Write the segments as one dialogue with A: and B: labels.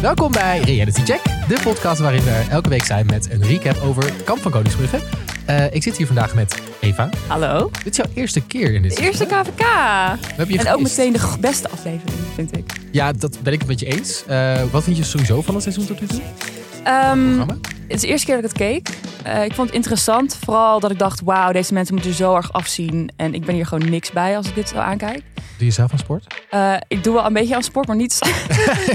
A: Welkom bij Reality Check, de podcast waarin we er elke week zijn met een recap over Kamp van Koningsbrugge. Eh, ik zit hier vandaag met Eva.
B: Hallo.
A: Dit is jouw eerste keer in dit
B: De eerste
A: seizoen,
B: KVK.
A: hè? We hebben je
B: En ook
A: gemist.
B: meteen de g- beste aflevering, vind ik.
A: Ja, dat ben ik het met je eens. Eh, wat vind je sowieso van het seizoen tot nu toe?
B: Ehm,
A: Programma?
B: het is de eerste keer dat ik het keek. Eh, ik vond het interessant. Vooral dat ik dacht, wauw, deze mensen moeten er zo erg afzien. En ik ben hier gewoon niks bij als ik dit zo aankijk.
A: Doe je zelf aan sport?
B: Eh, ik doe wel een beetje aan sport, maar niet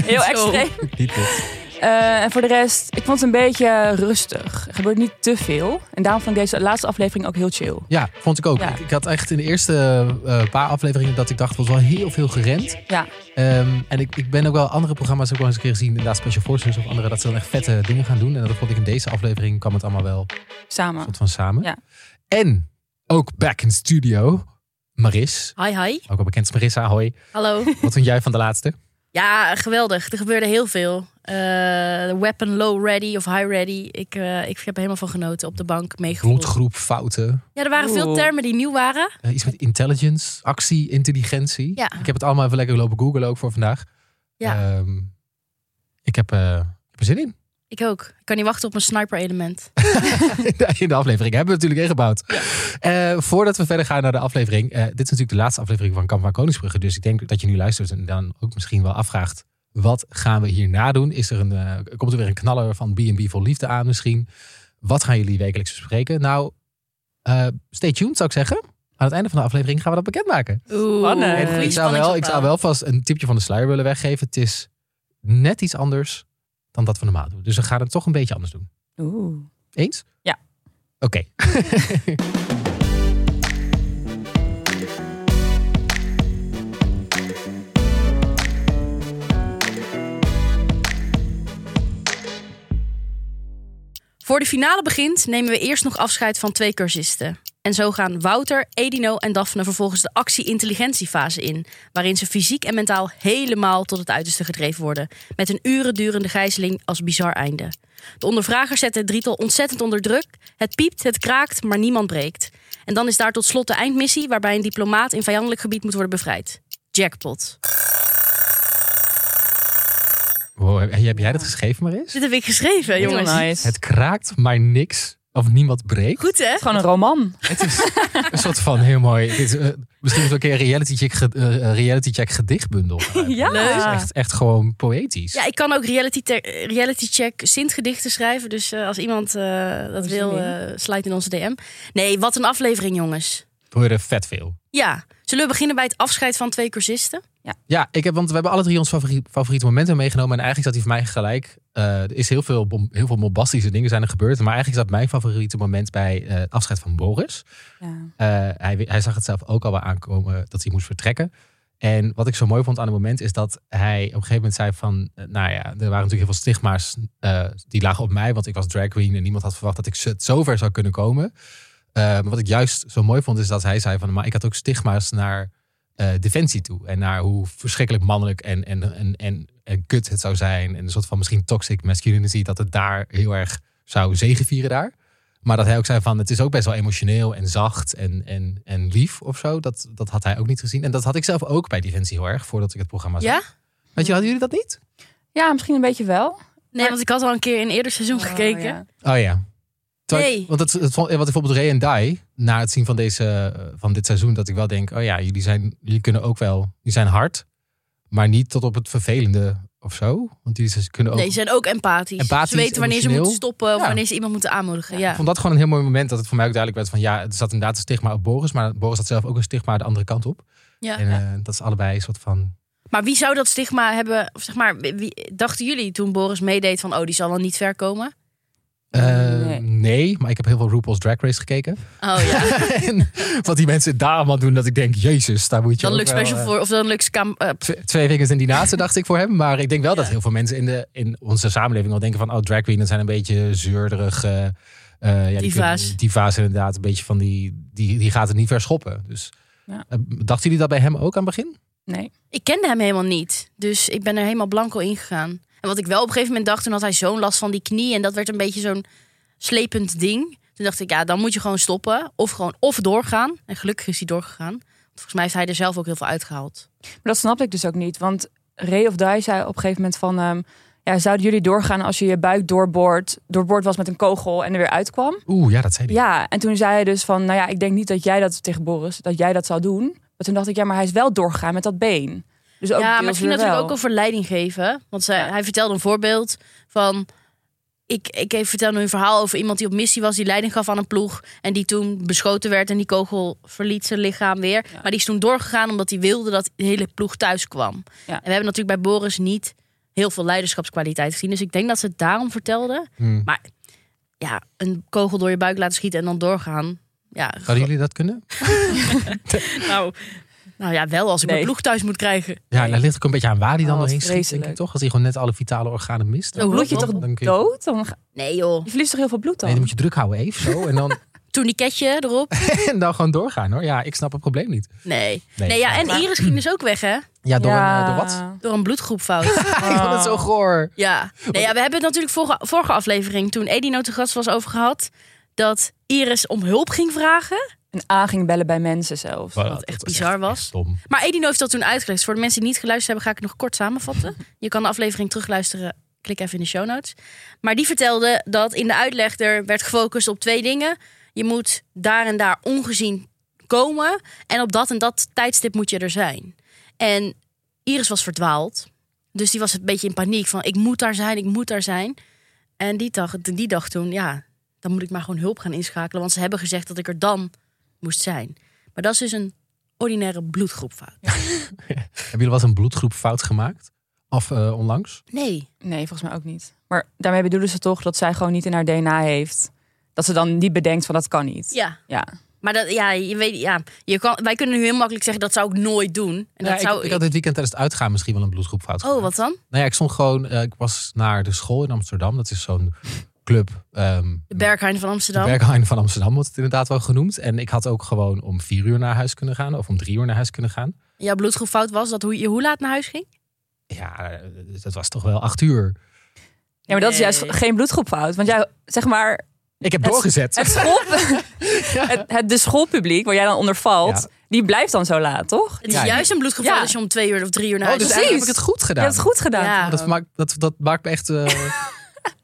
B: heel extreem.
A: Niet dit.
B: Eh, en voor de rest, ik vond het een beetje rustig. Er gebeurt niet te veel. En daarom vond ik deze laatste aflevering ook heel chill.
A: Ja, vond ik ook.
B: Ja.
A: Ik, ik had echt in de eerste eh, paar afleveringen dat ik dacht, er was wel heel veel gerend.
B: Ja,
A: Ehm, en ik, ik ben ook wel andere programma's ook wel eens een keer gezien. Inderdaad, Special Forces of andere. Dat ze dan echt vette dingen gaan doen. En dat vond ik in deze aflevering kwam het allemaal wel
B: samen.
A: soort van samen.
B: Ja.
A: En ook back in studio. Maris.
C: Hi, hi.
A: Ook wel bekend als Marissa. Hoi.
C: Hallo.
A: Wat vond jij van de laatste?
C: Ja, geweldig. Er gebeurde heel veel. Eh, weapon low ready of high ready. Ik, eh, ik heb er helemaal van genoten op de bank meegevoeld.
A: Bloedgroep, fouten.
C: Ja, er waren veel
B: Oeh.
C: termen die nieuw waren.
A: eh, iets met intelligence, actie, intelligentie.
C: Ja.
A: Ik heb het allemaal even lekker lopen googlen ook voor vandaag.
C: Ja.
A: Ehm, ik heb, eh, ik heb er zin in.
C: Ik ook. Ik kan niet wachten op mijn sniper element.
A: in de aflevering. Hebben we natuurlijk ingebouwd. Eh, voordat we verder gaan naar de aflevering. eh, dit is natuurlijk de laatste aflevering van Kamp van Koningsbrugge. Dus ik denk dat je nu luistert en dan ook misschien wel afvraagt. Wat gaan we hierna doen? Is er een, eh, komt er weer een knaller van B&B voor liefde aan misschien? Wat gaan jullie wekelijks bespreken? Nou, eh, stay tuned zou ik zeggen. Aan het einde van de aflevering gaan we dat bekendmaken.
C: Oeh.
B: Spannend.
C: goede
B: En
A: ik, zou wel, ik zou wel vast een tipje van de sluier willen weggeven. Het is net iets anders dan dat we normaal doen. Dus we gaan het toch een beetje anders doen.
B: Oeh.
A: Eens?
B: Ja.
A: Oké.
C: Voor de finale begint, nemen we eerst nog afscheid van twee cursisten. En zo gaan Wouter, Edino en Daphne vervolgens de actie-intelligentiefase in, waarin ze fysiek en mentaal helemaal tot het uiterste gedreven worden, met een uren durende gijzeling als bizar einde. De ondervragers zetten het drietal ontzettend onder druk. Het piept, het kraakt, maar niemand breekt. En dan is daar tot slot de eindmissie, waarbij een diplomaat in vijandelijk gebied moet worden bevrijd. Jackpot.
A: Wow, heb, heb jij dat geschreven, Maris?
C: Dit heb ik geschreven,
B: Heel
C: jongens.
B: nice. Het
A: Het kraakt maar niks of niemand breekt.
C: Goed hè?
B: is gewoon een roman.
A: Het is een soort van heel mooi. Dit is, eh, misschien is het ook een keer een reality check, ge- eh, eh, reality check gedichtbundel.
B: Ja.
C: Leuk.
A: Het is echt, echt gewoon poëtisch.
C: Ja, ik kan ook reality, te- reality check Sint-gedichten schrijven. Dus eh, als iemand eh, dat
B: is
C: wil,
B: een
C: eh sluit in onze DM. Nee, wat een aflevering, jongens.
A: Hoor je er vet veel.
C: Ja, zullen we beginnen bij het afscheid van twee cursisten?
A: Ja, ik heb, want we hebben alle drie ons favoriet, favoriete momenten meegenomen. En eigenlijk zat hij voor mij gelijk. Eh, er is heel veel, bom- heel veel bombastische dingen zijn er gebeurd. Maar eigenlijk zat mijn favoriete moment bij eh, het afscheid van Boris.
B: Ja.
A: Eh, hij, hij zag het zelf ook al wel aankomen dat hij moest vertrekken. En wat ik zo mooi vond aan het moment is dat hij op een gegeven moment zei van... eh, Nou ja, er waren natuurlijk heel veel stigma's eh, die lagen op mij. Want ik was drag queen en niemand had verwacht dat ik zo- zo ver zou kunnen komen. Eh, maar wat ik juist zo mooi vond is dat hij zei van... Maar ik had ook stigma's naar eh, defensie toe. En naar hoe verschrikkelijk mannelijk en, en, en, en, en kut het zou zijn. En een soort van misschien toxic masculinity. Dat het daar heel erg zou zegevieren daar. Maar dat hij ook zei van het is ook best wel emotioneel en zacht en, en, en lief of zo. Dat, dat had hij ook niet gezien. En dat had ik zelf ook bij Defensie heel erg voordat ik het programma zag.
C: Ja?
A: Weet je, hadden jullie dat niet?
B: ja, misschien een beetje wel.
C: Nee, want ik had al een keer in een eerder seizoen gekeken.
B: Oh, ja.
A: Oh ja. Terwijl ik-
C: Nee.
A: want het, het, vond- wat bijvoorbeeld Ray en Dai, na het zien van, deze, eh, van dit seizoen, dat ik wel denk, oh ja, jullie zijn, jullie kunnen ook wel, jullie zijn hard, maar niet tot op het vervelende of zo. Want jullie zijn- kunnen ook...
C: Nee, ze zijn ook empathisch.
A: Oh. Empathisch,
C: ze weten wanneer ze
A: emotioneel.
C: moeten stoppen of
A: Ja.
C: wanneer ze iemand moeten aanmoedigen.
A: Ik
C: Ja.
A: vond dat gewoon een heel mooi moment dat het voor mij ook duidelijk werd van ja, er zat inderdaad een stigma op Boris, maar Boris had zelf ook een stigma de andere kant op.
C: Ja.
A: en eh, dat is allebei een soort van
C: Maar wie zou dat stigma hebben? Of zeg maar, wie- wie, dachten jullie toen Boris meedeed van, oh, die zal wel niet ver komen?
A: Eh, nee.
B: Nee.
A: maar ik heb heel veel RuPaul's Drag Race gekeken.
C: Oh ja,
A: en wat die mensen daar allemaal doen, dat ik denk, jezus, daar moet je
C: dan
A: ook
C: lukt
A: wel,
C: special
A: eh,
C: voor, of dan lukt Cam, eh, pff,
A: tw- Twee vingers in die naasten dacht ik voor hem. Maar ik denk wel dat
C: Ja.
A: heel veel mensen in, de, in onze samenleving al denken van... oh, drag queen, dat zijn een beetje zeurderige... eh, ja, die
C: Diva's.
A: kunnen- diva's inderdaad, een beetje van die... die, die gaat het niet verschoppen. Dus
B: Ja.
A: eh, dachten jullie dat bij hem ook aan het begin?
B: Nee.
C: Ik kende hem helemaal niet. Dus ik ben er helemaal blanco in gegaan. En wat ik wel op een gegeven moment dacht, toen had hij zo'n last van die knie. En dat werd een beetje zo'n slepend ding. Toen dacht ik, ja, dan moet je gewoon stoppen. Of gewoon of doorgaan. En gelukkig is hij doorgegaan. Want volgens mij heeft hij er zelf ook heel veel uitgehaald.
B: Maar dat snapte ik dus ook niet. Want Ray of Die zei op een gegeven moment van... ehm, Ja, zouden jullie doorgaan als je je buik doorboord, doorboord was met een kogel en er weer uitkwam?
A: Oeh, ja, dat zei hij.
B: Ja, en toen zei hij dus van, nou ja, ik denk niet dat jij dat tegen Boris, dat jij dat zou doen. Maar toen dacht ik, ja, maar hij is wel doorgegaan met dat been. Dus ook
C: ja,
B: deels
C: maar misschien
B: weer
C: natuurlijk
B: wel.
C: ook over leiding geven. Want zij, hij vertelde een voorbeeld van... Ik, ik even vertel nu een verhaal over iemand die op missie was... die leiding gaf aan een ploeg en die toen beschoten werd... en die kogel verliet zijn lichaam weer. Maar die is toen doorgegaan omdat hij wilde dat de hele ploeg thuis kwam.
B: Ja.
C: En we hebben natuurlijk bij Boris niet heel veel leiderschapskwaliteit gezien. Dus ik denk dat ze het daarom vertelde.
A: Hm.
C: Maar ja, een kogel door je buik laten schieten en dan doorgaan... Ja,
A: Zouden jullie dat kunnen?
C: nou, nou ja, wel als ik
B: Nee.
C: mijn ploeg thuis moet krijgen.
A: Ja, en dat ligt ook een beetje aan waar hij dan
B: Oh, wat
A: doorheen schiet, denk ik
B: vreselijk.
A: toch? Als hij gewoon net alle vitale organen mist.
C: Dan bloed je toch
A: Dan kun je-
B: Dood? Dan, ga-
C: Nee joh.
B: je verliest toch heel veel bloed dan?
A: Nee, dan moet je druk houden even zo. En dan,
C: Tourniquetje erop.
A: en dan gewoon doorgaan hoor. Ja, ik snap het probleem niet.
C: Nee.
A: Nee.
C: Nee, ja, en Iris ging dus ook weg, hè?
A: Ja, door,
B: Ja.
A: Een, eh, door wat?
C: Door een bloedgroepfout.
A: Ik vond het zo goor.
C: ja. Nee, ja. We hebben het natuurlijk vorige, vorige aflevering, toen Edino te gast was, over gehad. Dat Iris om hulp ging vragen.
B: En A ging bellen bij mensen zelfs.
A: Wat
C: echt bizar was.
A: stom.
C: Maar Edino heeft dat toen uitgelegd. Voor de mensen die niet geluisterd hebben, ga ik het nog kort samenvatten. Je kan de aflevering terugluisteren. Klik even in de show notes. Maar die vertelde dat in de uitleg er werd gefocust op twee dingen. Je moet daar en daar ongezien komen. En op dat en dat tijdstip moet je er zijn. En Iris was verdwaald. Dus die was een beetje in paniek van ik moet daar zijn, ik moet daar zijn. En die dag, die dag toen, ja, dan moet ik maar gewoon hulp gaan inschakelen. Want ze hebben gezegd dat ik er dan moest zijn. Maar dat is dus een ordinaire bloedgroepfout.
A: Hebben jullie wat een bloedgroep fout gemaakt? Af eh, onlangs?
C: Nee.
B: Nee, volgens mij ook niet. Maar daarmee bedoelen ze toch dat zij gewoon niet in haar DNA heeft. Dat ze dan niet bedenkt van dat kan niet.
C: Ja.
B: Ja.
C: Maar dat, ja, je weet, ja, je kan, wij kunnen nu heel makkelijk zeggen dat zou ik nooit doen. En
A: Ja,
C: dat zou
A: ik, ik had dit weekend tijdens het uitgaan misschien wel een bloedgroep fout
C: Oh, wat dan?
A: Nou ja, ik stond gewoon... eh, ik was naar de school in Amsterdam. Dat is zo'n club. ehm
C: De Berghain van Amsterdam.
A: De Berghain van Amsterdam wordt het inderdaad wel genoemd. En ik had ook gewoon om vier uur naar huis kunnen gaan. Of om drie uur naar huis kunnen gaan.
C: Jouw bloedgroepfout was dat hoe je hoe laat naar huis ging?
A: Ja, eh, dat was toch wel acht uur.
B: Ja, maar dat is juist
C: Nee.
B: geen bloedgroepfout. Want jij, zeg maar,
A: Ik heb
B: Het-
A: doorgezet.
B: het, school, het, het de schoolpubliek waar jij dan onder valt,
A: Ja.
B: die blijft dan zo laat, toch?
C: Het is
A: Ja, ja.
C: juist een bloedgroepfout
B: Ja.
C: als je om twee uur of drie uur naar
A: Oh,
C: huis
A: dus
C: gaat.
A: eigenlijk heb
B: precies.
A: ik het goed
B: Je
A: gedaan.
B: hebt het goed gedaan.
C: Ja.
A: Dat maakt, dat, dat maakt me echt... eh,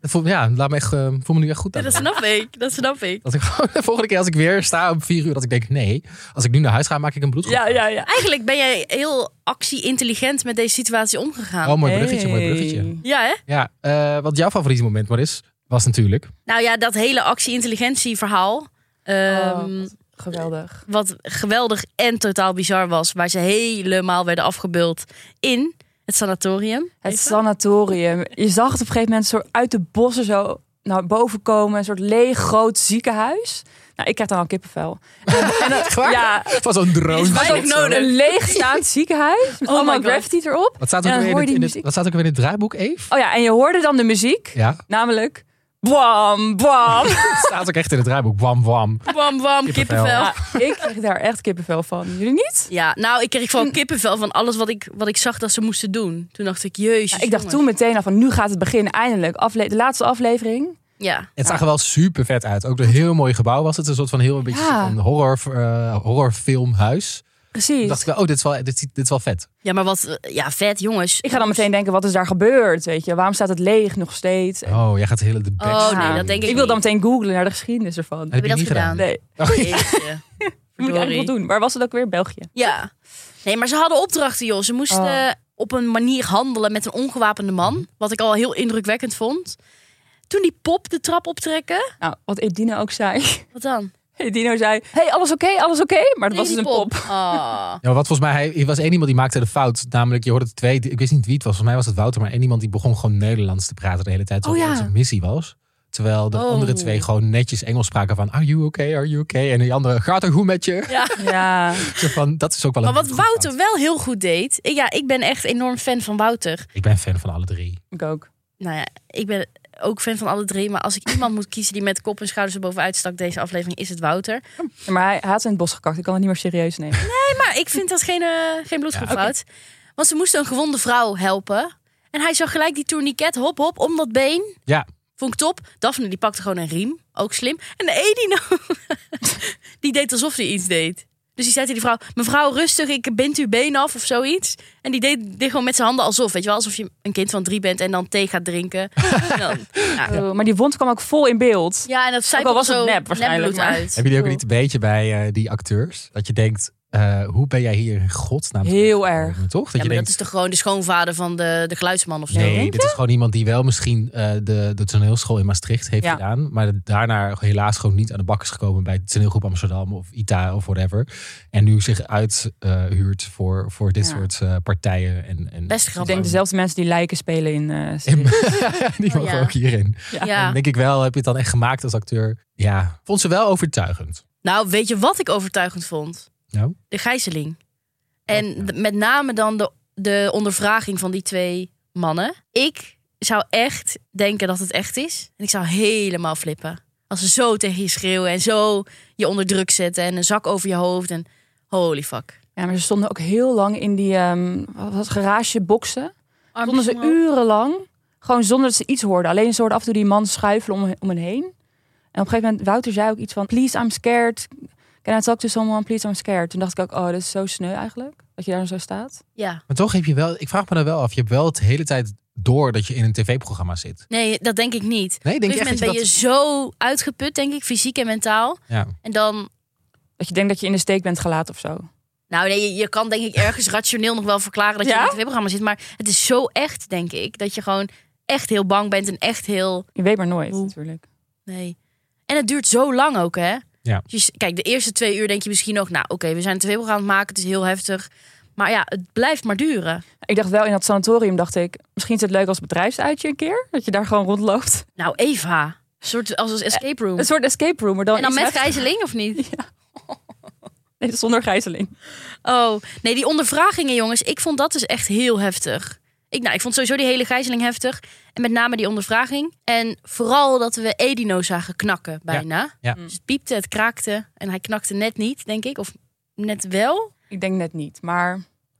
A: dat voelt- ja, laat me echt, eh, voel me nu echt goed aan.
C: dat snap ik. Dat snap ik.
A: Dat ik gewoon de volgende keer als ik weer sta om vier uur, dat ik denk nee. Als ik nu naar huis ga, maak ik een bloedgroep.
B: Ja, ja, ja.
C: Eigenlijk ben jij heel actie-intelligent met deze situatie omgegaan.
A: Oh, mooi bruggetje, mooi
B: Hey.
A: bruggetje.
C: Ja, hè?
A: Ja, eh, wat jouw favoriete moment maar is, was natuurlijk...
C: Nou ja, dat hele actie-intelligentie verhaal. ehm,
B: Oh, geweldig.
C: wat geweldig en totaal bizar was. Waar ze helemaal werden afgebeeld in het sanatorium.
B: Het sanatorium. Je zag het op een gegeven moment zo uit de bossen zo naar boven komen. Een soort leeg groot ziekenhuis. Nou, ik krijg dan al kippenvel. En dan-
A: Echt waar?
B: ja,
A: Van zo'n drone.
C: is bijna
A: shot, zo.
C: nodig.
B: een leegstaand ziekenhuis. Met
C: Oh
B: allemaal
C: my God.
B: graffiti erop.
A: Wat staat
B: En
A: ook
B: dan
A: weer in
B: hoor
A: het,
B: je die
A: in het-
B: muziek.
A: wat staat ook weer in het draaiboek, Eve?
B: Oh ja, en je hoorde dan de muziek.
A: Ja,
B: Namelijk... Bwam, bwam.
A: het staat ook echt in het draaiboek. Wam, wam.
C: Wam, wam,
A: Kippenvel.
C: kippenvel.
B: Ja, Nou, ik kreeg daar echt kippenvel van. Jullie niet?
C: Ja, nou, ik kreeg gewoon kippenvel van alles wat ik, wat ik zag dat ze moesten doen. Toen dacht ik, jezus.
B: Ja, ik dacht
C: jongens.
B: toen meteen al van nu gaat het beginnen. Eindelijk. Afle- de laatste aflevering.
C: Ja.
A: Het zag er wel super vet uit. Ook een heel mooi gebouw was het. Een soort van heel een beetje
B: Ja.
A: een horror, eh, horrorfilmhuis. Toen
B: Precies.
A: dacht ik wel, oh, dit is wel, dit, ziet- dit is wel vet.
C: ja, maar wat, eh, ja, vet, jongens.
B: ik ga dan meteen denken, wat is daar gebeurd? Weet je? Waarom staat het leeg nog steeds?
A: Oh, jij gaat de hele de
C: Oh, nee,
B: Ja.
C: dat denk ik
B: ik wil dan
C: niet.
B: meteen googlen naar de geschiedenis ervan.
A: Heb
C: Heb
A: je
C: je
A: niet
C: dat gedaan?
A: gedaan?
B: Nee,
C: Oh, Jeetje.
B: moet ik eigenlijk wel doen. Waar was het ook weer? België.
C: Ja. Nee, maar ze hadden opdrachten, joh. Ze moesten
B: Oh. Mhm.
C: op een manier handelen met een ongewapende man. Wat ik al heel indrukwekkend vond. Toen die pop de trap optrekken.
B: Nou, wat Edino ook zei.
C: Wat dan?
B: Edino zei, hey, alles oké, alles oké? Maar dat was dus
C: Nee,
B: een
C: die
B: pop.
C: Ah.
A: Ja, maar wat volgens mij, hij, er was één iemand die maakte de fout. Namelijk, je hoorde het twee, ik wist niet wie het was. Volgens mij was het Wouter, maar één iemand die begon gewoon Nederlands te praten de hele tijd. Zoals
B: Oh, ja.
A: het zijn missie was. Terwijl de
C: Oh.
A: andere twee gewoon netjes Engels spraken van, are you okay, are you okay? En die andere, gaat er goed met je?
C: Ja.
B: Ja,
A: Zo van, dat is ook wel
C: Maar
A: een
C: wat
A: goed
C: Wouter
A: fout.
C: wel heel goed deed. ik- Ja, ik ben echt enorm fan van Wouter.
A: Ik ben fan van alle drie.
B: ik ook.
C: Nou ja, ik ben ook fan van alle drie. Maar als ik iemand moet kiezen die met kop en schouders erbovenuit stak deze aflevering, is het Wouter.
B: Maar hij, hij had ze in het bos gekakt. Ik kan het niet meer serieus nemen.
C: Maar ik vind dat geen, eh geen bloedgroepfout. Want ze moesten een gewonde vrouw helpen. En hij zag gelijk die tourniquet hop hop om dat been.
A: Ja.
C: Vond ik top. Daphne die pakte gewoon een riem. Ook slim. En de Edino, die deed alsof hij iets deed. Dus die zei tegen die vrouw, mevrouw rustig, ik bind uw been af of zoiets. En die deed dit gewoon met zijn handen alsof, weet je wel. Alsof je een kind van drie bent en dan thee gaat drinken. En dan- ja.
B: Oh, maar die wond kwam ook vol in beeld.
C: ja, en dat zei
B: Ook al was
C: zo
B: het nep waarschijnlijk,
C: nepbloed
B: maar-
C: uit.
A: Hebben jullie ook
B: Cool.
A: niet een beetje bij eh, die acteurs? Dat je denkt, eh, hoe ben jij hier in godsnaam
B: Heel
A: terechtgekomen,
B: erg.
A: Toch? Dat
C: Ja,
A: je
C: maar dat
A: denkt,
C: is toch gewoon de schoonvader van de, de geluidsman of zo?
A: nee, dit is gewoon iemand die wel misschien eh, de, de toneelschool in Maastricht heeft
B: Ja.
A: gedaan. Maar daarna helaas gewoon niet aan de bak is gekomen bij toneelgroep Amsterdam of ITA of whatever. En nu zich uithuurt voor, voor dit
B: Ja.
A: soort eh, partijen. En, en
C: Best
B: Ik
C: grappig. Oh,
B: denk dezelfde mensen die lijken spelen in eh, series.
A: die mogen
C: Ja.
A: ook hierin.
C: Ja.
A: En dan denk ik wel, heb je het dan echt gemaakt als acteur? Ja, vond ze wel overtuigend.
C: Nou, weet je wat ik overtuigend vond?
A: Nou?
C: De gijzeling.
A: Oké.
C: En d- met name dan de, de ondervraging van die twee mannen. Ik zou echt denken dat het echt is. En ik zou helemaal flippen. Als ze zo tegen je schreeuwen en zo je onder druk zetten en een zak over je hoofd. En holy fuck.
B: Ja, maar ze stonden ook heel lang in die ehm wat was het, garageboxen. Stonden ze
C: Armpjes omhoog.
B: urenlang, gewoon zonder dat ze iets hoorden. Alleen ze hoorden af en toe die man schuifelen om, om hen heen. En op een gegeven moment, Wouter zei ook iets van... Please, I'm scared. Can I talk to someone? Please, I'm scared. Toen dacht ik ook, oh, dat is zo sneu eigenlijk. Dat je daar zo staat.
C: Ja.
A: Maar toch heb je wel, ik vraag me dan wel af, je hebt wel de hele tijd door dat je in een tv-programma zit.
C: Nee, dat denk ik niet.
A: Nee, ik
C: Op een
A: denk
C: gegeven
A: echt
C: moment
A: dat
C: ben
A: je
C: je
A: dat...
C: zo uitgeput, denk ik, fysiek en mentaal.
A: Ja.
C: En dan
B: Dat je denkt dat je in de steek bent gelaten of zo.
C: Nou nee, je, je kan denk ik ergens rationeel nog wel verklaren dat je
B: Ja?
C: in het tv-programma zit. Maar het is zo echt, denk ik, dat je gewoon echt heel bang bent en echt heel...
B: Je weet maar nooit,
C: Oeh.
B: natuurlijk.
C: Nee. En het duurt zo lang ook, hè?
A: Ja.
C: Dus je- kijk, de eerste twee uur denk je misschien nog... Nou, oké, we zijn een tv-programma aan het maken, het is heel heftig. Maar ja, het blijft maar duren.
B: Ik dacht wel, in dat sanatorium dacht ik... Misschien is het leuk als bedrijfsuitje een keer. Dat je daar gewoon rondloopt.
C: Nou, Eva. Een soort als een escape room.
B: Een soort escape room, maar dan,
C: en dan
B: iets
C: met
B: heftiger.
C: gijzeling of niet?
B: Nee, zonder gijzeling.
C: Oh, nee, die ondervragingen, jongens. Ik vond dat dus echt heel heftig. Ik, nou, ik vond sowieso die hele gijzeling heftig. En met name die ondervraging. En vooral dat we Edino zagen knakken, bijna.
A: ja.
C: Dus het piepte, het kraakte. En hij knakte net niet, denk ik. Of net wel.
B: Ik denk net niet, maar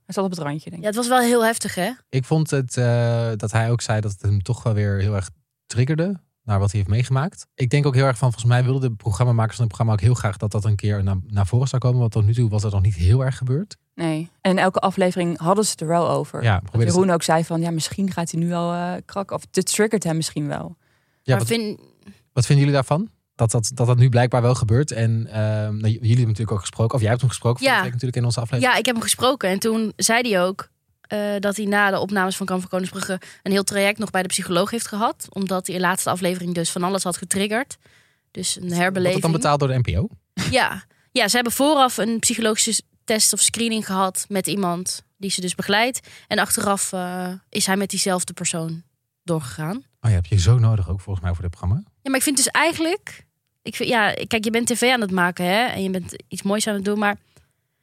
B: hij zat op het randje, denk
C: Ja,
B: ik.
C: het was wel heel heftig, hè?
A: Ik vond het eh, dat hij ook zei dat het hem toch wel weer heel erg triggerde naar wat hij heeft meegemaakt. Ik denk ook heel erg van, volgens mij wilden de programmamakers van het programma ook heel graag dat dat een keer naar, naar voren zou komen. Want tot nu toe was dat nog niet heel erg gebeurd.
B: Nee. En in elke aflevering hadden ze het er wel over.
A: Ja, probeer eens-
B: Jeroen ook zei van, ja, misschien gaat hij nu al eh krak. Of dit triggert hem misschien wel.
A: ja,
C: maar
A: wat,
C: vind...
A: wat vinden jullie daarvan? Dat dat, dat dat nu blijkbaar wel gebeurt. En ehm, nou, j- jullie hebben natuurlijk ook gesproken, of jij hebt hem gesproken
C: Ja.
A: vorige week natuurlijk in onze aflevering.
C: ja, ik heb hem gesproken. En toen zei hij ook eh, dat hij na de opnames van Kamp van Koningsbrugge... een heel traject nog bij de psycholoog heeft gehad. Omdat hij in de laatste aflevering dus van alles had getriggerd. Dus een
A: Wordt
C: herbeleving.
A: dat dan betaald door de NPO?
C: Ja. ja, ze hebben vooraf een psychologische test of screening gehad met iemand die ze dus begeleidt. En achteraf eh, is hij met diezelfde persoon doorgegaan.
A: Oh ja, heb je zo nodig ook volgens mij voor dit programma.
C: Ja, maar ik vind dus eigenlijk. Ik vind, ja, kijk, je bent tv aan het maken hè, en je bent iets moois aan het doen, maar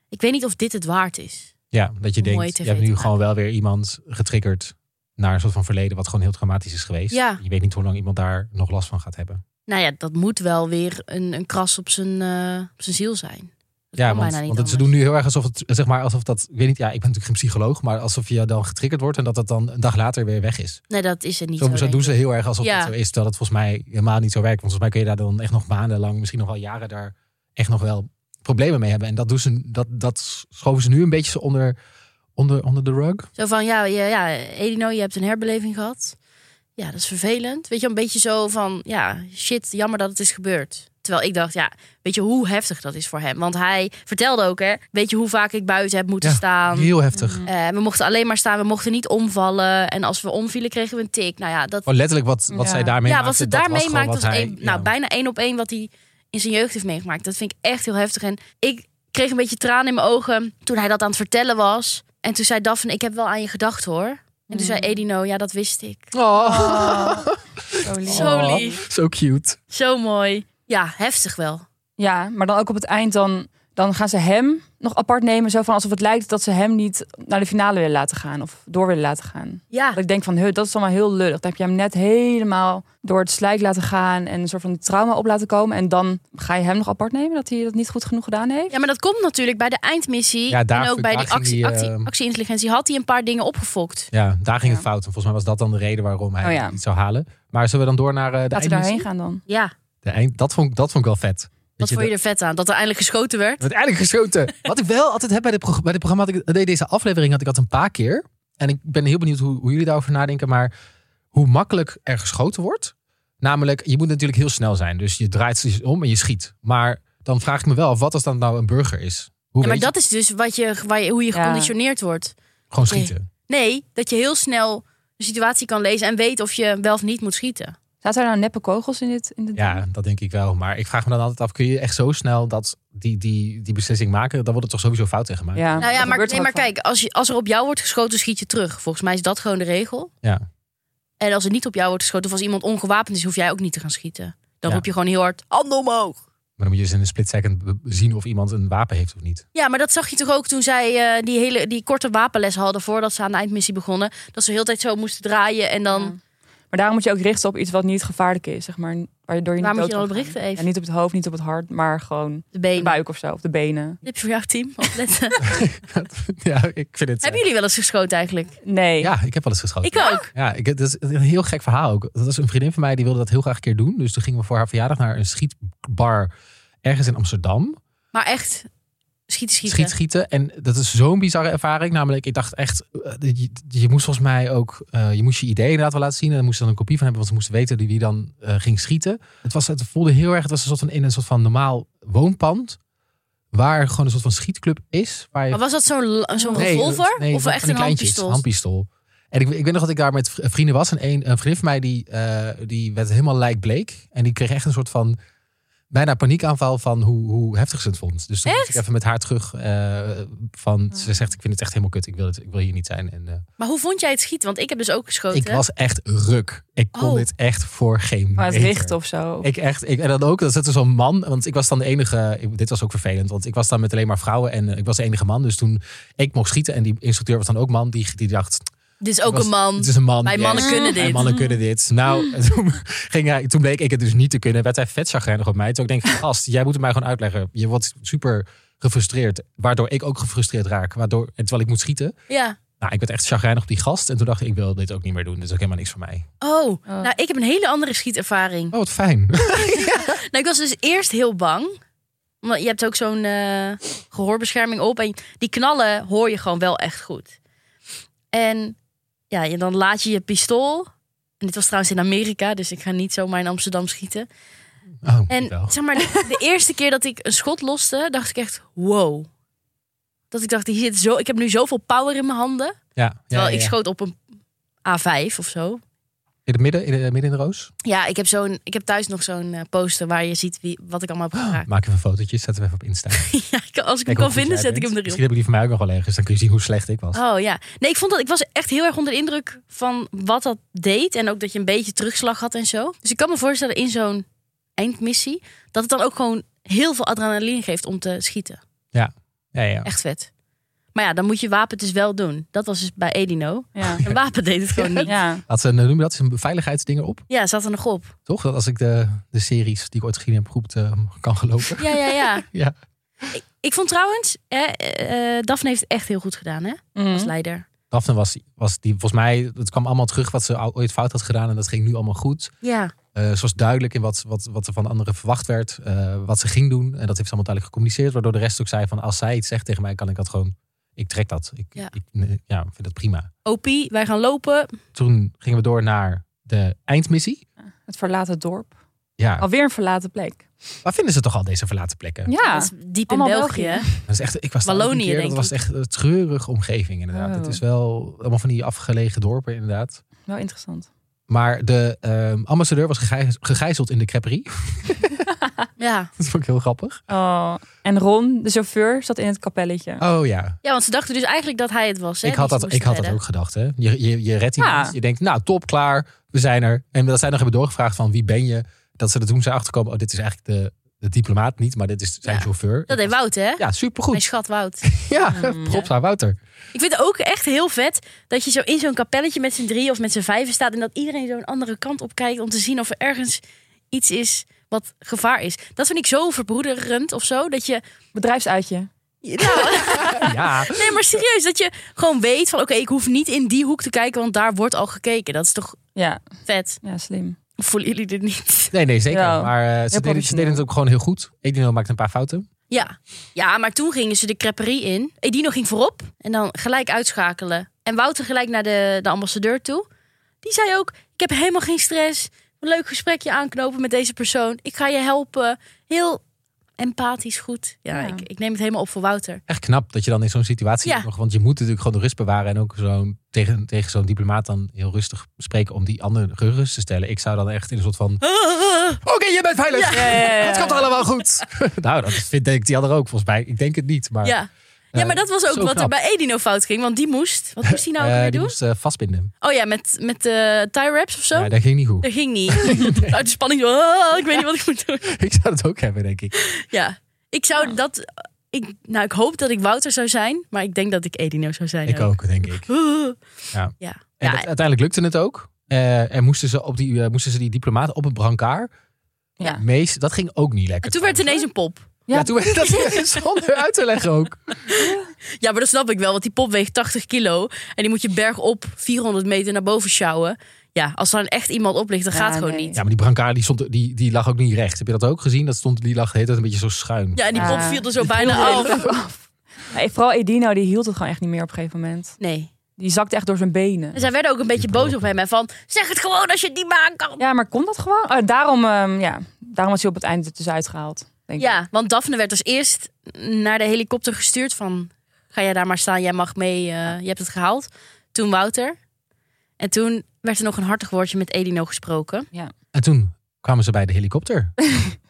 C: ik weet niet of dit het waard is.
A: Ja, dat je
C: Mooie
A: denkt, je
C: TV
A: hebt nu
C: te
A: gewoon wel weer iemand getriggerd naar een soort van verleden wat gewoon heel traumatisch is geweest.
C: Ja.
A: Je weet niet hoe lang iemand daar nog last van gaat hebben.
C: Nou ja, dat moet wel weer een, een kras op zijn, eh, op zijn ziel zijn. Dat
A: ja,
C: kan
A: want,
C: bijna niet
A: want ze doen
C: anders.
A: nu heel erg alsof het, zeg maar, alsof dat, ik weet niet, ja, ik ben natuurlijk geen psycholoog, maar alsof je dan getriggerd wordt en dat dat dan een dag later weer weg is.
C: Nee, dat is het niet.
A: Zo, zo
C: denk
A: doen
C: ik.
A: ze heel erg alsof
C: Ja.
A: dat zo is, terwijl dat volgens mij helemaal niet zo werkt. Want volgens mij kun je daar dan echt nog maandenlang, misschien nog wel jaren daar echt nog wel problemen mee hebben. En dat, doen ze, dat, dat schoven ze nu een beetje zo onder, onder, onder de rug.
C: Zo van, ja, ja, ja, Edino, je hebt een herbeleving gehad. Ja, dat is vervelend. Weet je, een beetje zo van, ja, shit, jammer dat het is gebeurd. Terwijl ik dacht, ja, weet je hoe heftig dat is voor hem? Want hij vertelde ook, hè, weet je hoe vaak ik buiten heb moeten
A: Ja,
C: staan?
A: Heel heftig.
C: Eh, we mochten alleen maar staan, we mochten niet omvallen. En als we omvielen, kregen we een tik. Nou ja, dat,
A: Gewoon letterlijk wat, wat
B: Ja.
A: zij daarmee
C: ja,
A: maakte,
C: wat ze
A: dat was
C: daarmee
A: gewoon
C: maakt,
A: wat
C: was
A: hij-
C: één-
A: ja.
C: nou, bijna één op één wat hij in zijn jeugd heeft meegemaakt. Dat vind ik echt heel heftig. En ik kreeg een beetje tranen in mijn ogen toen hij dat aan het vertellen was. En toen zei Daphne, ik heb wel aan je gedacht hoor. En toen zei Edino, ja, dat wist ik.
A: Oh.
B: Zo lief.
C: Zo lief.
A: Zo cute.
C: Zo mooi. Ja, heftig wel.
B: Ja, maar dan ook op het eind dan, dan gaan ze hem nog apart nemen. Zo van alsof het lijkt dat ze hem niet naar de finale willen laten gaan. Of door willen laten gaan.
C: Ja,
B: Dat ik denk van, huh, dat is allemaal heel lullig. Dan heb je hem net helemaal door het slijk laten gaan. En een soort van trauma op laten komen. En dan ga je hem nog apart nemen dat hij dat niet goed genoeg gedaan heeft.
C: ja maar dat komt natuurlijk bij de eindmissie.
A: Ja, daar-
C: en ook bij
A: daar
C: die
A: ging
C: actie,
A: hij,
C: actie,
A: eh,
C: actieintelligentie had hij een paar dingen opgefokt.
A: Ja, daar ging het
B: Ja.
A: fout. En volgens mij was dat dan de reden waarom hij
B: Oh ja.
A: het niet zou halen. Maar zullen we dan door naar eh,
B: Laten
A: de
B: we
A: eindmissie?
B: daarheen gaan dan.
C: Ja,
A: De eind, dat, vond, dat vond ik wel vet.
C: Wat vond je er vet aan? Dat er eindelijk geschoten werd?
A: werd eindelijk geschoten. Wat ik wel altijd heb bij dit, prog- bij dit programma, had ik, nee, deze aflevering had ik dat een paar keer. En ik ben heel benieuwd hoe, hoe jullie daarover nadenken. Maar hoe makkelijk er geschoten wordt. Namelijk, je moet natuurlijk heel snel zijn. Dus je draait ze om en je schiet. Maar dan vraag ik me wel af, wat als dan nou een burger is? Hoe
C: Ja, maar
A: weet je?
C: dat is dus wat je, waar je, hoe je
B: Ja.
C: geconditioneerd wordt.
A: Gewoon schieten.
C: Nee, dat je heel snel de situatie kan lezen en weet of je wel of niet moet schieten.
B: Zaten er nou neppe kogels in dit? In dit
A: Ja, dat denk ik wel. Maar ik vraag me dan altijd af, kun je echt zo snel dat die, die, die beslissing maken? Dan wordt het toch sowieso fout in gemaakt?
B: ja.
C: Nou ja,
B: dat
C: maar,
B: gebeurt
C: nee,
B: er
C: maar
B: ook vaak.
C: kijk, als, je, als er op jou wordt geschoten, schiet je terug. Volgens mij is dat gewoon de regel.
A: Ja.
C: En als er niet op jou wordt geschoten, of als iemand ongewapend is, hoef jij ook niet te gaan schieten. Dan
A: Ja.
C: roep je gewoon heel hard, handen omhoog.
A: Maar dan moet je dus in een split second be- zien of iemand een wapen heeft of niet.
C: Ja, maar dat zag je toch ook toen zij eh, die, hele, die korte wapenles hadden voordat ze aan de eindmissie begonnen. Dat ze de hele tijd zo moesten draaien en dan...
B: Ja. Maar daarom moet je ook richten op iets wat niet gevaarlijk is, zeg maar. Waardoor je
C: Waar
B: niet
C: moet je
B: dood
C: dan op
B: kan gaan.
C: richten even?
B: Ja, niet op het hoofd, niet op het hart, maar gewoon
C: De
B: de
C: benen.
B: buik of zo, of de benen.
C: Tips voor jouw team. opletten.
A: ja, ik vind het... eh,
C: Hebben jullie wel eens geschoten eigenlijk?
B: Nee.
A: Ja, ik heb wel eens geschoten.
C: Ik ook.
A: Ja, ik, dat is een heel gek verhaal ook. Dat was een vriendin van mij die wilde dat heel graag een keer doen. Dus toen gingen we voor haar verjaardag naar een schietbar ergens in Amsterdam.
C: Maar echt, schieten, schieten.
A: Schiet, schieten. En dat is zo'n bizarre ervaring. Namelijk, ik dacht echt, eh, je, je moest volgens mij ook, eh, je moest je idee inderdaad wel laten zien. En daar moest je dan een kopie van hebben, want ze moesten weten wie dan eh, ging schieten. Het, was, het voelde heel erg, het was een soort van, in een soort van normaal woonpand. Waar gewoon een soort van schietclub is. Waar je
C: Maar was dat zo'n la- zo'n
A: Nee,
C: revolver?
A: dat- nee,
C: of
A: van
C: echt
A: die
C: een
A: kleintjes,
C: handpistool?
A: handpistool. En ik, ik weet nog dat ik daar met vri- vrienden was. En een, een vriend van mij die, eh, die werd helemaal lijkbleek. En die kreeg echt een soort van bijna paniekaanval van hoe, hoe heftig ze het vond. Dus toen moest ik
C: Echt? Ah.
A: even met haar terug eh, van... Ze zegt, ik vind het echt helemaal kut. Ik wil, het, ik wil hier niet zijn. En, eh,
C: Maar hoe vond jij het schieten? Want ik heb dus ook geschoten.
A: ik was echt ruk. Ik kon
C: Oh.
A: dit echt voor geen
B: Maar het
A: meter.
B: richten of zo.
A: Ik echt, ik, en dan ook, dat zit dus zo'n man. Want ik was dan de enige, ik- dit was ook vervelend. Want ik was dan met alleen maar vrouwen en eh, ik was de enige man. Dus toen ik mocht schieten en die instructeur was dan ook man. Die, die dacht,
C: Dit is ook
A: was-
C: een man.
A: het is een man.
C: Wij mannen kunnen
A: Wij
C: dit.
A: mannen kunnen dit. Nou, en toen, ging hij, toen bleek ik het dus niet te kunnen. Werd hij vet chagrijnig op mij. Toen ik denk, gast, jij moet het mij gewoon uitleggen. Je wordt super gefrustreerd. Waardoor ik ook gefrustreerd raak. Waardoor, en terwijl ik moet schieten.
C: Ja.
A: Nou, ik werd echt chagrijnig op die gast. En toen dacht ik, ik wil dit ook niet meer doen. Dit is ook helemaal niks voor mij.
C: Oh, nou ik heb een hele andere schietervaring.
A: Oh, wat fijn.
C: Nou, ik was dus eerst heel bang. Omdat je hebt ook zo'n eh, gehoorbescherming op. En die knallen hoor je gewoon wel echt goed. En ja, en dan laat je je pistool. En dit was trouwens in Amerika, dus ik ga niet zomaar in Amsterdam schieten.
A: Oh,
C: En
A: ik wel.
C: zeg maar, de, de eerste keer dat ik een schot loste, dacht ik echt, wow. Dat ik dacht, hier zit zo, ik heb nu zoveel power in mijn handen.
A: Ja, ja,
C: Terwijl
A: ja,
C: ik
A: ja.
C: schoot op een A5 of zo.
A: In het midden, in, de- midden in de roos?
C: Ja, ik heb, zo'n, ik heb thuis nog zo'n eh, poster waar je ziet wie, wat ik allemaal heb geraakt.
A: Maak even fotootjes, zetten we even op Insta. Oh. Kijk
C: Ja, ik- als ik hem
A: hoe
C: kan
A: goed
C: vinden,
A: jij
C: zet
A: bent.
C: ik hem erin.
A: Misschien heb ik die van mij ook nog wel ergens. Dan kun je zien hoe slecht ik was.
C: Oh ja. Nee, ik vond dat ik was echt heel erg onder de indruk van wat dat deed. En ook dat je een beetje terugslag had en zo. Dus ik kan me voorstellen in zo'n eindmissie dat het dan ook gewoon heel veel adrenaline geeft om te schieten.
A: Ja, ja.
C: Echt vet. Maar ja, dan moet je wapen dus wel doen. Dat was dus bij Edino.
B: Ja.
C: Een wapen deed het gewoon niet.
B: ja.
A: Had ze, een- noem je dat, een beveiligheidsdingen op?
C: Ja, zat er nog op.
A: Toch? Dat als ik de, de series die ik ooit gezien heb goed eh, kan gelopen.
C: Ja, ja, ja.
A: Ja.
C: Ik, ik vond trouwens, hè, eh, eh, Daphne heeft het echt heel goed gedaan, hè?
A: Mhm.
C: Als
B: Mm.
C: leider.
A: Daphne was, was die, volgens mij, het kwam allemaal terug wat ze ou- ooit fout had gedaan. En dat ging nu allemaal goed.
C: Ja.
A: Eh, ze was duidelijk in wat, wat, wat er van anderen verwacht werd. eh, wat ze ging doen. En dat heeft ze allemaal duidelijk gecommuniceerd. Waardoor de rest ook zei van, als zij iets zegt tegen mij, kan ik dat gewoon... Ik trek dat. Ik,
C: Ja.
A: ik nee, ja, vind dat prima.
C: OP, wij gaan lopen.
A: Toen gingen we door naar de eindmissie.
B: Het verlaten dorp.
A: Ja,
C: Oh.
B: Alweer een verlaten plek.
A: Waar vinden ze toch al deze verlaten plekken?
B: Ja.
C: Dat is diep in
B: Allemaal
C: België.
B: België.
C: hè?
A: Dat is echt, ik was daar ook een
C: Wallonië,
A: keer,
C: denk
A: Dat was
C: ik.
A: echt een treurige omgeving inderdaad.
B: Oh.
A: Het is wel allemaal van die afgelegen dorpen inderdaad.
B: Wel interessant.
A: Maar de ehm, ambassadeur was gegijz- gegijzeld in de creperie.
C: Ja.
A: Dat vond ik heel grappig.
B: Oh. En Ron, de chauffeur, zat in het kapelletje.
A: Oh ja,
C: Ja, want ze dachten dus eigenlijk dat hij het was. Hè,
A: ik had,
C: die ze
A: dat, ik
C: moesten
A: had dat
C: redden. Ah.
A: ook gedacht. Hè? Je, je, je redt
B: Ja.
A: iemand, je denkt nou top, klaar, we zijn er. En dat zij nog hebben doorgevraagd van wie ben je. Dat ze er toen zijn achterkomen, oh dit is eigenlijk de, de diplomaat niet, maar dit is zijn
C: Ja.
A: chauffeur.
C: Dat deed Wout, hè?
A: Ja,
C: Mijn
A: supergoed.
C: schat Wout.
A: Ja,
C: Hmm,
B: Mm.
A: props aan Wouter.
C: Ik vind het ook echt heel vet dat je zo in zo'n kapelletje met z'n drieën of met z'n vijven staat. En dat iedereen zo'n andere kant op kijkt om te zien of er ergens iets is wat gevaar is. Dat vind ik zo verbroederend of zo. Dat je.
B: Bedrijfsuitje.
C: Nou,
A: Ja,
C: nee, maar serieus. Dat je gewoon weet van: oké, ik hoef niet in die hoek te kijken, want daar wordt al gekeken. Dat is toch
B: Ja.
C: vet.
B: ja, slim.
C: voelen jullie dit niet?
A: Nee, nee, zeker.
B: Ja,
A: maar eh, ze, deden, ze
B: professioneel.
A: deden het ook gewoon heel goed. Edino maakte een paar fouten.
C: Ja. ja, maar toen gingen ze de creperie in. Edino ging voorop en dan gelijk uitschakelen. En Wouter gelijk naar de, de ambassadeur toe. Die zei ook, ik heb helemaal geen stress. Een leuk gesprekje aanknopen met deze persoon. Ik ga je helpen. Heel empathisch goed. Ja,
B: Ja.
C: Ik, ik neem het helemaal op voor Wouter.
A: Echt knap dat je dan in zo'n situatie
C: Ja.
A: ook nog... Want je moet natuurlijk gewoon de rust bewaren. En ook zo'n, tegen, tegen zo'n diplomaat dan heel rustig spreken om die ander gerust te stellen. Ik zou dan echt in een soort van... Oké, je bent veilig.
C: Ja, ja, ja, ja.
A: Het gaat allemaal goed. nou, dat vindt denk ik die ander ook volgens mij. Ik denk het niet, maar...
C: Ja. Ja,
A: eh,
C: maar dat was ook
A: zo
C: wat er
A: knap.
C: bij Edino fout ging. Want die moest... Wat moest hij nou ook
A: Eh,
C: weer
A: die
C: doen?
A: moest eh, vastbinden.
C: Oh ja, met, met eh tie wraps of zo?
A: Ja, dat ging niet goed.
C: Dat ging niet. Uit de spanning. oh, ik weet niet wat ik moet doen.
A: ik zou het ook hebben, denk ik.
C: Ja, ik zou
B: Oh.
C: dat. Ik, nou, ik hoop dat ik Wouter zou zijn, maar ik denk dat ik Edino zou zijn.
A: Ik ook, denk ik.
C: Ja.
A: Ja.
C: Ja.
A: En dat- uiteindelijk lukte het ook. Eh, en moesten ze, op die, eh, moesten ze die diplomaat op een brancard.
B: Ja.
A: Mees, dat ging ook niet lekker.
C: en toen werd het ineens een pop.
A: Ja, toen werd dat zonder uit te leggen ook.
C: Ja, maar dat snap ik wel, want die pop weegt 80 kilo. En die moet je bergop 400 meter naar boven sjouwen. Ja, als er dan echt iemand op ligt, dat
B: Ja,
C: gaat gewoon
B: nee.
C: niet.
A: Ja, maar die brancard die stond, die, die lag ook niet recht. Heb je dat ook gezien? Dat stond, die lag de hele tijd een beetje zo schuin.
C: Ja, en die
B: Ja.
C: pop viel er zo bijna af.
B: Nee, vooral Edino, die hield het gewoon echt niet meer op een gegeven moment.
C: Nee.
B: Die zakte echt door zijn benen.
C: En zij werden ook een beetje
A: Die
C: boos
A: pop.
C: op hem. En van, zeg het gewoon als je het niet meer aan kan.
B: Ja, maar kon dat gewoon? Eh, daarom, ehm, ja, daarom was hij op het einde dus uitgehaald. Denk ik.
C: Ja, want Daphne werd als eerst naar de helikopter gestuurd van... ga jij daar maar staan, jij mag mee, eh, je hebt het gehaald. Toen Wouter. En toen werd er nog een hartig woordje met Edino gesproken.
A: En toen kwamen ze bij de helikopter.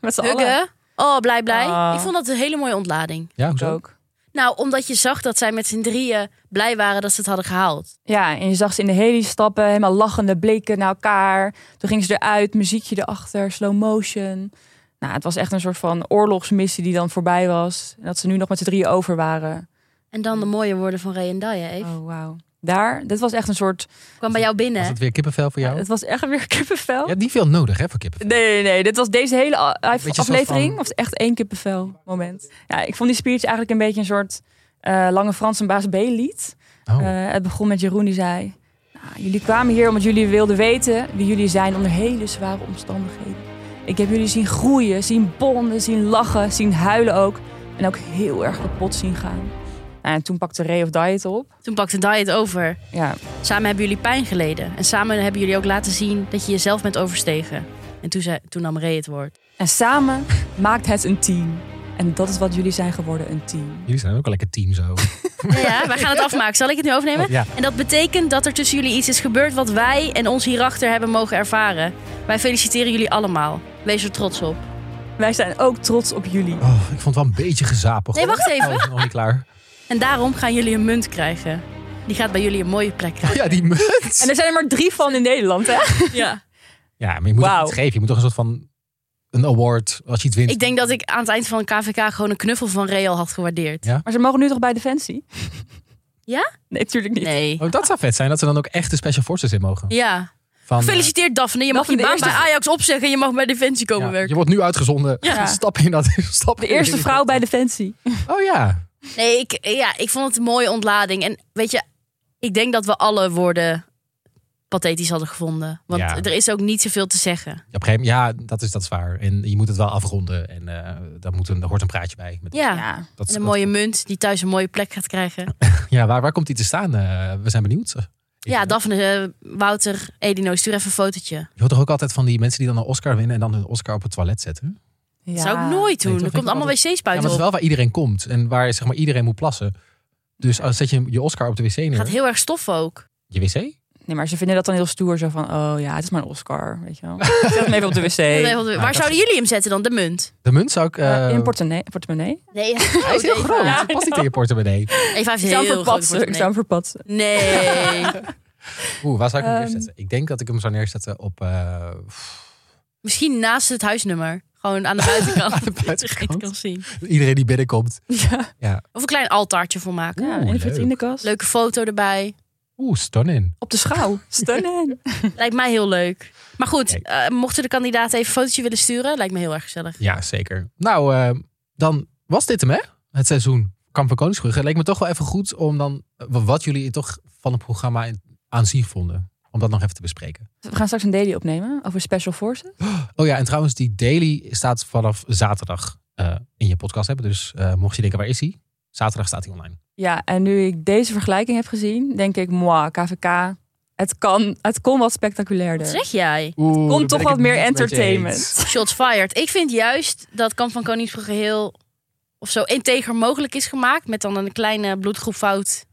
B: Met z'n allen.
C: Huggen. Oh, blij, blij.
B: Ah.
C: Ik vond dat een hele mooie ontlading.
A: Ja,
B: Ik
A: hoezo?
B: ook.
C: Nou, omdat je zag dat zij met z'n drieën blij waren dat ze het hadden gehaald.
B: Ja, en je zag ze in de heli stappen, helemaal lachende bleken naar elkaar. Toen gingen ze eruit, muziekje erachter, slow motion. Nou, het was echt een soort van oorlogsmissie die dan voorbij was. En dat ze nu nog met z'n drieën over waren.
C: En dan de mooie woorden van Ray en Daya, Eve.
B: Oh, wauw. Daar, dit was echt een soort...
C: Kwam bij jou binnen.
A: Was het weer kippenvel voor jou?
B: Het was echt weer kippenvel.
A: Ja, die veel nodig hè, voor kippenvel.
B: Nee, nee, nee. Dit was deze hele a-
A: Beetje zo
B: aflevering.
A: van-
B: was echt één kippenvel moment. Ja, ik vond die speech eigenlijk een beetje een soort eh, Lange Frans en Baas B lied.
A: Oh.
B: Eh, het begon met Jeroen die zei... Nou, jullie kwamen hier omdat jullie wilden weten wie jullie zijn onder hele zware omstandigheden. Ik heb jullie zien groeien, zien bonden, zien lachen, zien huilen ook. En ook heel erg kapot zien gaan. Nou, en toen pakte Ray of Diet op.
C: Toen pakte Daya het over.
B: Ja,
C: Samen hebben jullie pijn geleden. En samen hebben jullie ook laten zien dat je jezelf bent overstegen. En toen, zei, toen nam Ray het woord.
B: en samen maakt het een team. En dat is wat jullie zijn geworden, een team.
A: Jullie zijn ook al lekker team zo. Oh,
C: Ja, wij gaan het afmaken. Zal ik het nu overnemen?
A: Ja.
C: En dat betekent dat er tussen jullie iets is gebeurd wat wij en ons hierachter hebben mogen ervaren. Wij feliciteren jullie allemaal. Wees er trots op.
B: Wij zijn ook trots op jullie.
A: Oh, ik vond het wel een beetje gezapig.
C: Nee,
A: hoor.
C: wacht even.
A: Oh, ik ben nog niet klaar.
C: En daarom gaan jullie een munt krijgen. Die gaat bij jullie een mooie plek
A: Oh
C: krijgen.
A: ja, die munt.
B: En er zijn er maar drie van in Nederland, hè?
C: Ja.
A: Ja, maar je moet
B: Wauw.
A: het geven. Je moet toch een soort van een award als je iets wint.
C: Ik denk dat ik aan het eind van KVK gewoon een knuffel van Real had gewaardeerd.
A: Ja.
B: Maar ze mogen nu toch bij Defensie?
C: Ja?
B: Nee, natuurlijk niet.
C: Nee.
A: Oh, dat zou vet zijn. Dat ze dan ook echt de special forces in mogen.
C: Ja.
A: Van, eh,
C: Gefeliciteerd Daphne. Je mag
B: Daphne,
C: je baan
B: de
C: bij
B: eerste.
C: Ajax opzeggen. en Je mag bij Defensie
A: eh,
C: komen
A: ja,
C: werken.
A: je wordt nu uitgezonden.
B: Ja.
A: Stap in dat. Stap
B: De
A: in
B: eerste
A: dat-
B: vrouw bij Defensie.
A: Oh ja.
C: Nee, ik, ja, ik vond het een mooie ontlading. En weet je, ik denk dat we alle woorden pathetisch hadden gevonden. Want
A: Ja.
C: er is ook niet zoveel te zeggen.
A: Op een gegeven moment, ja, dat is, dat is waar. En je moet het wel afronden. En eh, daar, moet een, daar hoort een praatje bij. Met,
C: Ja.
B: Ja.
A: dat,
C: En een
A: dat-
C: mooie munt die thuis een mooie plek gaat krijgen.
A: Ja, waar, waar komt die te staan? Eh, we zijn benieuwd. Ik-
C: Ja, Daphne, eh, Wouter, Edino, stuur even een fotootje.
A: Je hoort toch ook altijd van die mensen die dan een Oscar winnen... en dan hun Oscar op het toilet zetten?
B: ja.
C: Dat zou ik nooit doen.
A: Nee, toch?
C: er
A: Ik
C: komt allemaal
A: Ja, maar
C: wc-spuit
A: het is
C: op.
A: wel waar iedereen komt. En waar zeg maar, iedereen moet plassen. Dus als zet je je Oscar op de wc neer...
C: gaat heel erg stof ook.
A: Je wc?
B: Nee, maar ze vinden dat dan heel stoer. Zo van, oh ja, het is maar een Oscar, weet je wel. Zet hem even op de wc.
C: Nee,
B: Eh,
C: want-
A: dat
C: Waar
A: is-
C: zouden jullie hem zetten dan? De munt?
A: De munt zou ik... eh,
B: in een portemonnee. portemonnee.
C: Nee,
A: Hij is heel groot.
C: Eva
A: Het past niet in je portemonnee.
C: Eva heeft
B: Oh, Ik zou
C: heel
B: hem
C: groot
B: verpatsen. Ik zou
C: portemonnee.
B: hem verpatsen.
C: Nee.
A: Oeh, waar zou ik hem
B: Ehm.
A: neerzetten? Ik denk dat ik hem zou neerzetten op... eh, pff,
C: Misschien naast het huisnummer. Gewoon aan de buitenkant.
A: Aan de
C: Dat je het
A: buitenkant.
C: kan zien.
A: iedereen die binnenkomt.
B: Ja,
C: Of een klein altaartje voor maken.
B: ja
A: Oeh,
B: in de
A: leuk.
B: vitrinekast.
C: Leuke foto erbij.
A: Oeh, stunning.
B: Op de schouw. Stunning.
C: Lijkt mij heel leuk. Maar goed,
A: Kijk.
C: eh, mochten de kandidaten even een fotootje willen sturen, lijkt me heel erg gezellig.
A: Ja, zeker. Nou, eh, dan was dit hem, hè? Het seizoen Kamp van Koningsbrugge. Het leek me toch wel even goed om dan... eh, wat jullie toch van het programma aan zien vonden. Om dat nog even te bespreken.
B: We gaan straks een daily opnemen over Special Forces.
A: Oh ja, en trouwens, die daily staat vanaf zaterdag eh, in je podcast hebben. Dus eh, mocht je denken, waar is die? Zaterdag staat hij online.
B: Ja, en nu ik deze vergelijking heb gezien, denk ik, moi, KVK, het kan, het kon wat spectaculairder.
C: Wat zeg jij?
B: Komt toch wat meer entertainment.
C: Shots fired. Ik vind juist dat Kamp van Koningsbrug geheel of zo integer mogelijk is gemaakt. Met dan een kleine bloedgroep fout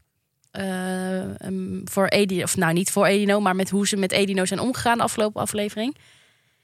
C: eh, ehm, voor Edino. Of nou, niet voor Edino, maar met hoe ze met Edino zijn omgegaan de afgelopen aflevering.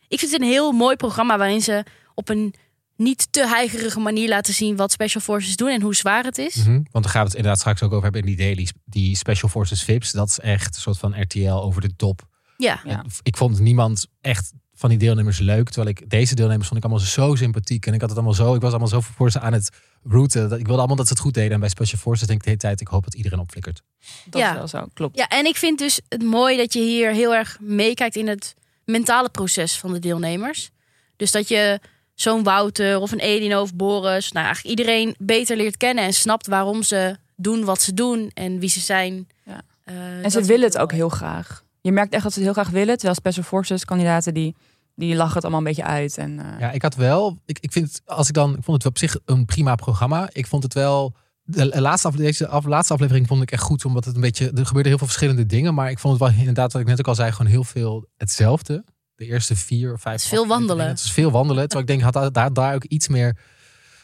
C: Ik vind het een heel mooi programma waarin ze op een niet te heigerige manier laten zien wat Special Forces doen en hoe zwaar het is.
A: Mhm, Want daar gaan we het inderdaad straks ook over hebben in die daily. Die Special Forces VIPs, dat is echt een soort van RTL over de top.
C: Ja.
B: Ja.
A: En Ik vond niemand echt van die deelnemers leuk. Terwijl ik deze deelnemers vond ik allemaal zo sympathiek. En ik had het allemaal zo, ik was allemaal zo voor ze aan het routen. Dat ik wilde allemaal dat ze het goed deden. En bij Special Forces denk ik de hele tijd, ik hoop dat iedereen opflikkert.
B: Dat
C: Ja.
B: is wel zo, klopt.
C: Ja, en ik vind dus het mooi dat je hier heel erg meekijkt in het mentale proces van de deelnemers. Dus dat je zo'n Wouter of een Edino of Boris, nou eigenlijk iedereen beter leert kennen en snapt waarom ze doen wat ze doen en wie ze zijn.
B: Ja.
C: Eh,
B: En
C: dat
B: ze
C: vind
B: willen
C: ik
B: het ook
C: mooi.
B: heel graag. Je merkt echt dat ze het heel graag willen. Terwijl Special Forces kandidaten die, die lachen het allemaal een beetje uit. En, eh,
A: Ja, ik had wel. Ik, ik vind het, als ik dan. Ik vond het op zich een prima programma. Ik vond het wel. De laatste, af, deze af, laatste aflevering vond ik echt goed, omdat het een beetje. Er gebeurde heel veel verschillende dingen. Maar ik vond het wel inderdaad, wat ik net ook al zei, gewoon heel veel hetzelfde. De eerste vier of vijf.
C: Het is veel
A: afleveringen.
C: wandelen.
A: Het is veel wandelen. Terwijl ik denk, had daar- daar, daar ook iets meer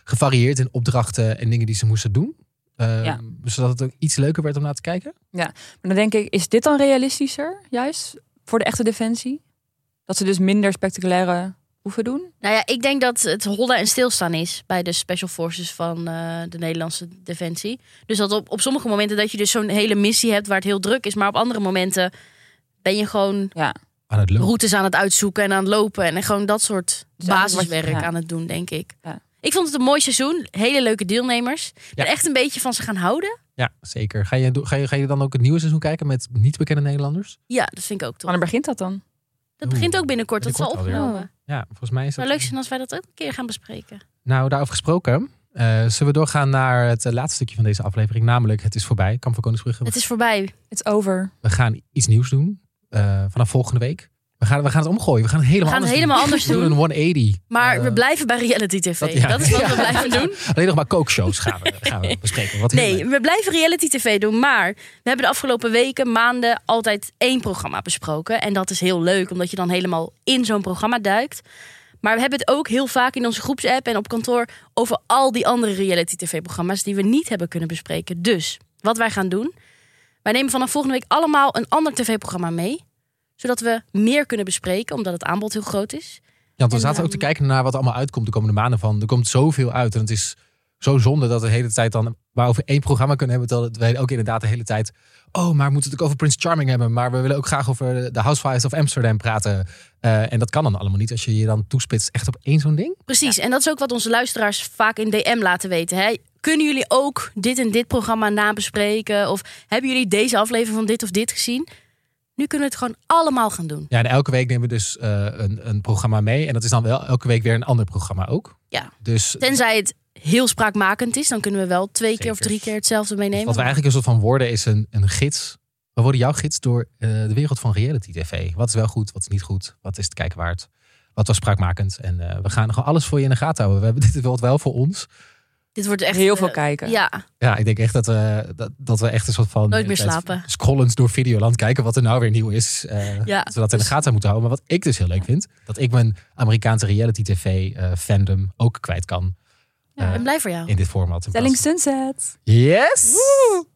A: gevarieerd in opdrachten en dingen die ze moesten doen. Ehm,
B: Ja.
A: Zodat het ook iets leuker werd om naar te kijken.
B: Maar dan denk ik, is dit dan realistischer, juist, voor de echte defensie? Dat ze dus minder spectaculaire oefen doen?
C: Nou ja, ik denk dat het hollen en stilstaan is bij de special forces van eh, de Nederlandse Defensie. Dus dat op, op sommige momenten dat je dus zo'n hele missie hebt waar het heel druk is, maar op andere momenten ben je gewoon
B: Ja.
A: Aan het lopen.
C: routes aan het uitzoeken en aan het lopen. En gewoon dat soort
B: Dus eigenlijk wat je-
C: basiswerk
B: ja.
C: aan het doen, denk ik.
B: Ja.
C: Ik vond het een mooi seizoen. Hele leuke deelnemers. Ik ben
A: Ja.
C: echt een beetje van ze gaan houden.
A: Ja, zeker. Ga je, do- ga, je, ga je dan ook het nieuwe seizoen kijken met niet bekende Nederlanders?
C: Ja, dat vind ik ook tof.
B: Wanneer begint dat dan?
C: Dat begint ook binnenkort. Dat is al
A: Binnenkort alweer.
C: opgenomen. Het
A: Ja, volgens mij is dat.
C: zou leuk zijn als wij dat ook een keer gaan bespreken.
A: Nou, daarover gesproken. eh, zullen we doorgaan naar het eh, laatste stukje van deze aflevering. Namelijk, het is voorbij. Kamp van Koningsbrugge.
C: Het is voorbij.
B: It's over.
A: We gaan iets nieuws doen. eh, vanaf volgende week. We gaan, we gaan het omgooien. We gaan het
C: We
A: helemaal
C: gaan het
A: anders
C: helemaal anders
A: doen. We doen
C: doen.
A: een 180.
C: Maar
A: Eh,
C: we blijven bij reality tv. Dat,
A: dat- ja.
C: is wat we
A: Ja.
C: blijven doen.
A: Alleen nog maar kookshows gaan we, gaan we bespreken. Wat heel
C: Nee,
A: leuk.
C: we blijven reality tv doen. Maar we hebben de afgelopen weken, maanden altijd één programma besproken. En dat is heel leuk, omdat je dan helemaal in zo'n programma duikt. Maar we hebben het ook heel vaak in onze groepsapp en op kantoor over al die andere reality tv-programma's die we niet hebben kunnen bespreken. Dus wat wij gaan doen, wij nemen vanaf volgende week allemaal een ander tv-programma mee. Zodat we meer kunnen bespreken, omdat het aanbod heel groot is.
A: Ja, want we
C: En,
A: zaten ook
C: ehm,
A: te kijken naar wat er allemaal uitkomt de komende maanden. Van. Er komt zoveel uit. En het is zo zonde dat we de hele tijd dan maar over één programma kunnen hebben. Terwijl wij ook inderdaad de hele tijd... Oh, maar we moeten het ook over Prince Charming hebben. Maar we willen ook graag over de Housewives of Amsterdam praten. Eh, en dat kan dan allemaal niet als je je dan toespitst echt op één zo'n ding.
C: Precies, en dat is ook wat onze luisteraars vaak in DM laten weten. Hè? Kunnen jullie ook dit en dit programma nabespreken? Of hebben jullie deze aflevering van dit of dit gezien? Nu kunnen we het gewoon allemaal gaan doen.
A: Ja, en elke week nemen we dus eh, een, een programma mee. En dat is dan wel elke week weer een ander programma ook.
C: Ja.
A: Dus
C: Tenzij het heel spraakmakend is, dan kunnen we wel twee keer of
A: Zeker.
C: drie keer hetzelfde meenemen.
A: Dus wat we eigenlijk een soort van worden is een, een gids. We worden jouw gids door eh, de wereld van reality tv. Wat is wel goed, wat is niet goed, wat is het kijken waard. Wat was spraakmakend. En eh, we gaan gewoon alles voor je in de gaten houden. We hebben dit wel, wel voor ons.
C: Dit wordt echt
B: Heel
C: eh,
B: veel kijken.
C: Ja,
A: Ja, ik denk echt dat we, dat, dat we echt een soort van...
C: Nooit meer
A: de hele tijd
C: slapen.
A: Scrollend door Videoland kijken wat er nou weer nieuw is. eh,
C: ja.
A: Dat we dat in de gaten moeten houden. Maar wat ik dus heel leuk vind. Dat ik mijn Amerikaanse reality tv eh, fandom ook kwijt kan.
C: Ik
A: eh,
C: ben blij voor jou.
A: in dit format. In
B: Telling
A: plaats-
B: Sunset.
A: Yes!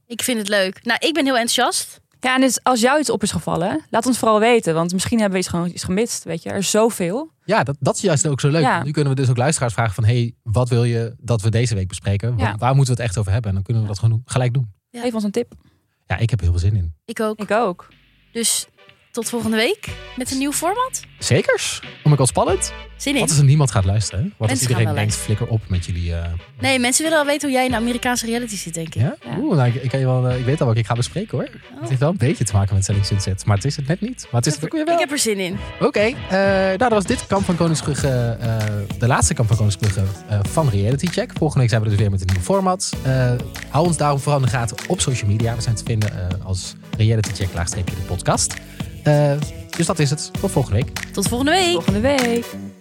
C: Ik vind het leuk. Nou, ik ben heel enthousiast.
B: Ja, en dus als jou iets op is gevallen, laat ons vooral weten. Want misschien hebben we iets, gewoon iets gemist, weet je. Er is zoveel.
A: Ja, dat, dat is juist ook zo leuk.
B: Ja.
A: Want Nu kunnen we dus ook luisteraars vragen van... hey, wat wil je dat we deze week bespreken? Wa-
B: Ja.
A: Waar moeten we het echt over hebben? En dan kunnen we dat gewoon doen- gelijk doen.
C: Ja.
B: Geef ons een tip.
A: Ja, ik heb er heel veel zin in.
C: Ik ook.
B: Ik ook.
C: Dus tot volgende week met een nieuw format.
A: Zekers? Om ik al spannend?
C: Zin
A: Wat
C: in.
A: als er niemand gaat luisteren? Wat als
C: Mensen
A: iedereen
C: gaan
A: denkt,
C: wel
A: flikker op met jullie... eh,
C: Nee, mensen willen wel weten hoe jij in de Amerikaanse reality zit, denk ik.
A: ja?
B: Ja.
A: Oeh, nou, ik, ik, kan je wel, eh, ik weet al wat ik ga bespreken hoor. Het heeft wel een beetje te maken met Selling Sunset. Maar het is het net niet. Maar het is het ook weer wel.
C: Ik heb er zin in.
A: Oké, eh, nou dat was dit Kamp van Koningsbrugge, eh, de laatste Kamp van Koningsbrugge eh, van Reality Check. Volgende week zijn we er dus weer met een nieuw format. Eh, hou ons daarom vooral in de gaten op social media. We zijn te vinden eh, als Reality Check laagstreepje de podcast.
D: Eh, dus dat is het. Tot volgende week.
A: Tot volgende week.
B: Volgende week.